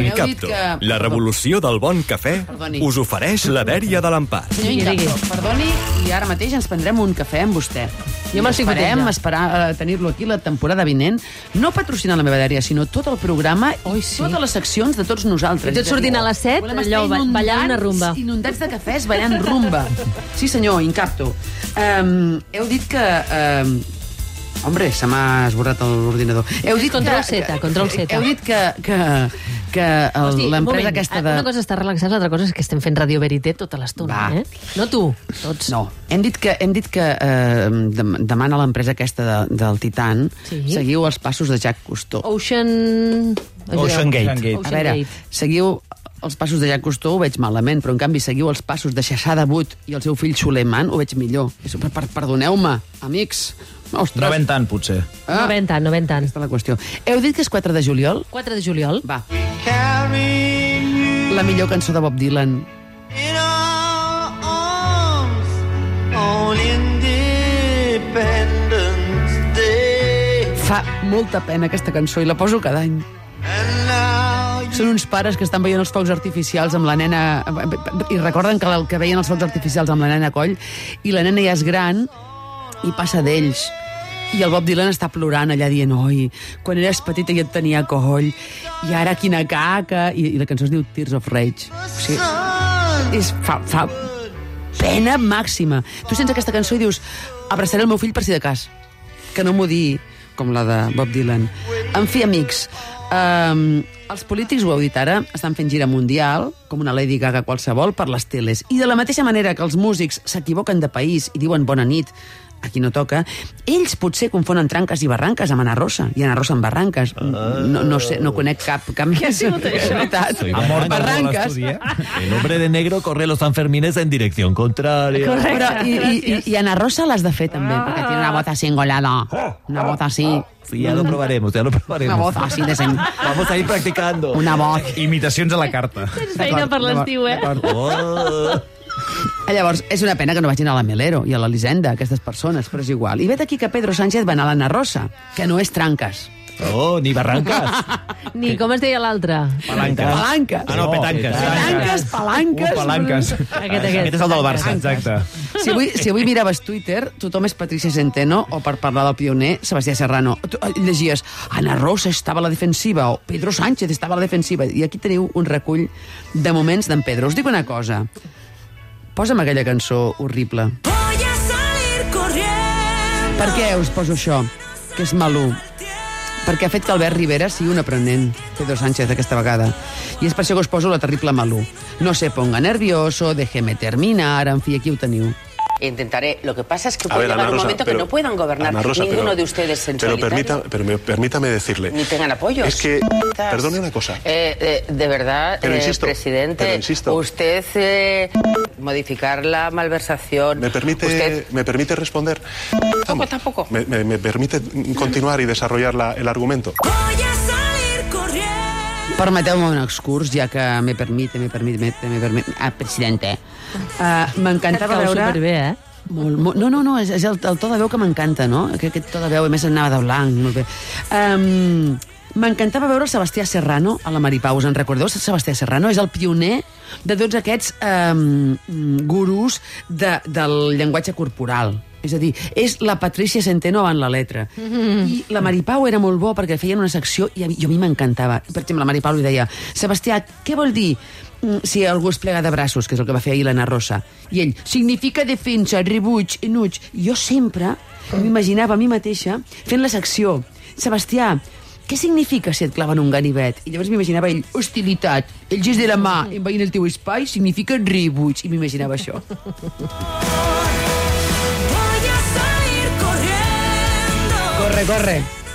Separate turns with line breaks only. Incapto, la revolució del bon cafè,
Perdoni.
us ofereix la dèria de l'empàs.
Senyor Incapto, perdoni, i ara mateix ens prendrem un cafè amb vostè.
Jo
I
m'ho estic
esperem
fotent ja.
esperar eh, tenir-lo aquí la temporada vinent, no patrocinant la meva dèria, sinó tot el programa i
sí.
totes les seccions de tots nosaltres.
I tot sortint a les set,
Volem estar
allò, ba-
inundats-
ballant una rumba.
Inundats de cafès ballant rumba. Sí, senyor, Incapto. Um, heu dit que... Um, Hombre, se m'ha esborrat l'ordinador. Heu dit
Eh, Control
que,
Z, control Z.
Heu dit que, que, que el-
Hosti, un moment. Ah, eh,
l'empresa aquesta de...
Una cosa està relaxada, l'altra cosa és que estem fent Radio Verité tota l'estona,
Va.
eh? No tu, tots.
No, hem dit que, hem dit que eh, dem- demana a l'empresa aquesta de, del Titan sí.
Sí.
seguiu els passos de Jacques Cousteau.
Ocean...
Ocean Gate.
Ocean Gate.
a veure, seguiu els passos de Jacques Cousteau, ho veig malament, però en canvi seguiu els passos de Xaxada But i el seu fill Suleiman, ho veig millor. És- per- per- Perdoneu-me, amics. Ostres,
No ben tant, potser.
Ah. No ven tant, no ven tant.
aquesta és la qüestió. Heu dit que és 4 de juliol?
4 de juliol.
Va. La millor cançó de Bob Dylan. Fa molta pena aquesta cançó i la poso cada any. Són uns pares que estan veient els focs artificials amb la nena... I recorden que, el que veien els focs artificials amb la nena a Coll i la nena ja és gran i passa d'ells. I el Bob Dylan està plorant allà dient oi, quan eres petita jo et tenia a coll i ara quina caca i, i la cançó es diu Tears of Rage o sigui, és, fa, fa pena màxima tu sents aquesta cançó i dius abraçaré el meu fill per si de cas que no m'ho digui com la de Bob Dylan en fi amics um, els polítics, ho heu dit ara, estan fent gira mundial, com una Lady Gaga qualsevol, per les teles. I de la mateixa manera que els músics s'equivoquen de país i diuen bona nit, a qui no toca, ells potser confonen tranques i barranques amb Ana Rosa, i Ana Rosa amb barranques. No, no sé, no conec cap, cap més. Què ha sigut això? Veritat.
Soy barranca.
Barranques.
El hombre de negro corre los Sanfermines en dirección contraria.
Però, i, i, i, I Ana Rosa l'has de fer també, perquè
Ah.
tiene una bota así engolada. Una bota así.
Sí, ya lo probaremos, ya lo
Una
probaremos.
voz así de sen...
Vamos a ir practicando.
Una voz.
Imitacions a la carta.
Tens feina per l'estiu, eh?
Oh.
Ah.
Llavors, és una pena que no vagin a la Melero i a l'Elisenda, aquestes persones, però és igual. I vet aquí que Pedro Sánchez va anar a l'Anna Rosa, que no és tranques.
Oh, ni barrancas.
Ni, com es deia l'altre?
Palanques.
Palanques.
Ah, no, petanques.
Palanques, palanques.
Uh, palanques.
Aquest, aquest.
Aquest és el del Barça, exacte.
Si avui, si avui miraves Twitter, tothom és Patricia Centeno o, per parlar del pioner, Sebastià Serrano. Tu, eh, Llegies, Ana Rosa estava a la defensiva o Pedro Sánchez estava a la defensiva. I aquí teniu un recull de moments d'en Pedro. Us dic una cosa. Posa'm aquella cançó horrible.
Voy a salir corriendo.
Per què us poso això, que és malú? Perquè ha fet que Albert Rivera sigui un aprenent, Pedro Sánchez, aquesta vegada. I és per això que us poso la terrible malú. No se ponga nervioso, déjeme terminar, en fi, aquí ho teniu.
Intentaré. Lo que pasa es que
A
puede
ver,
llegar
Ana
un
Rosa,
momento
pero-
que no puedan gobernar
Ana Rosa,
ninguno
pero-
de ustedes en
Pero,
solitario,
permita, pero me- permítame decirle.
Ni tengan apoyos.
Es que,
Estas-
perdone una cosa.
Eh, eh, de verdad,
Pero
eh,
insisto,
presidente,
pero insisto.
usted eh, modificar la malversación.
¿Me permite,
Usted,
¿Me permite responder? Vamos.
tampoco.
¿Me, me, me permite continuar y desarrollar la- el argumento?
Voy a salir corriendo.
Permeteu-me un excurs, ja que me permite, me permite, me permite... Ah, presidente. Uh, M'encantava
Cau
veure...
superbé, eh?
Molt, molt, no, no, no, és, és el, el to de veu que m'encanta, no? Aquest, aquest to de veu, a més, anava de blanc, molt bé. Um, M'encantava veure el Sebastià Serrano a la Maripau. Us en recordeu? Sebastià Serrano és el pioner de tots aquests um, gurus de, del llenguatge corporal. És a dir, és la Patricia Centeno avant la letra. Mm -hmm. I la Maripau era molt bo perquè feien una secció i a mi, jo a mi m'encantava. Per exemple, la Maripau li deia Sebastià, què vol dir Mm, si algú es plega de braços, que és el que va fer ahir l'Anna Rosa. I ell, significa defensa, rebuig, enuig. Jo sempre m'imaginava a mi mateixa fent la secció. Sebastià, què significa si et claven un ganivet? I llavors m'imaginava ell, hostilitat, el gest de la mà, envaint el teu espai, significa rebuig. I m'imaginava això.
Voy a salir corriendo.
Corre, corre.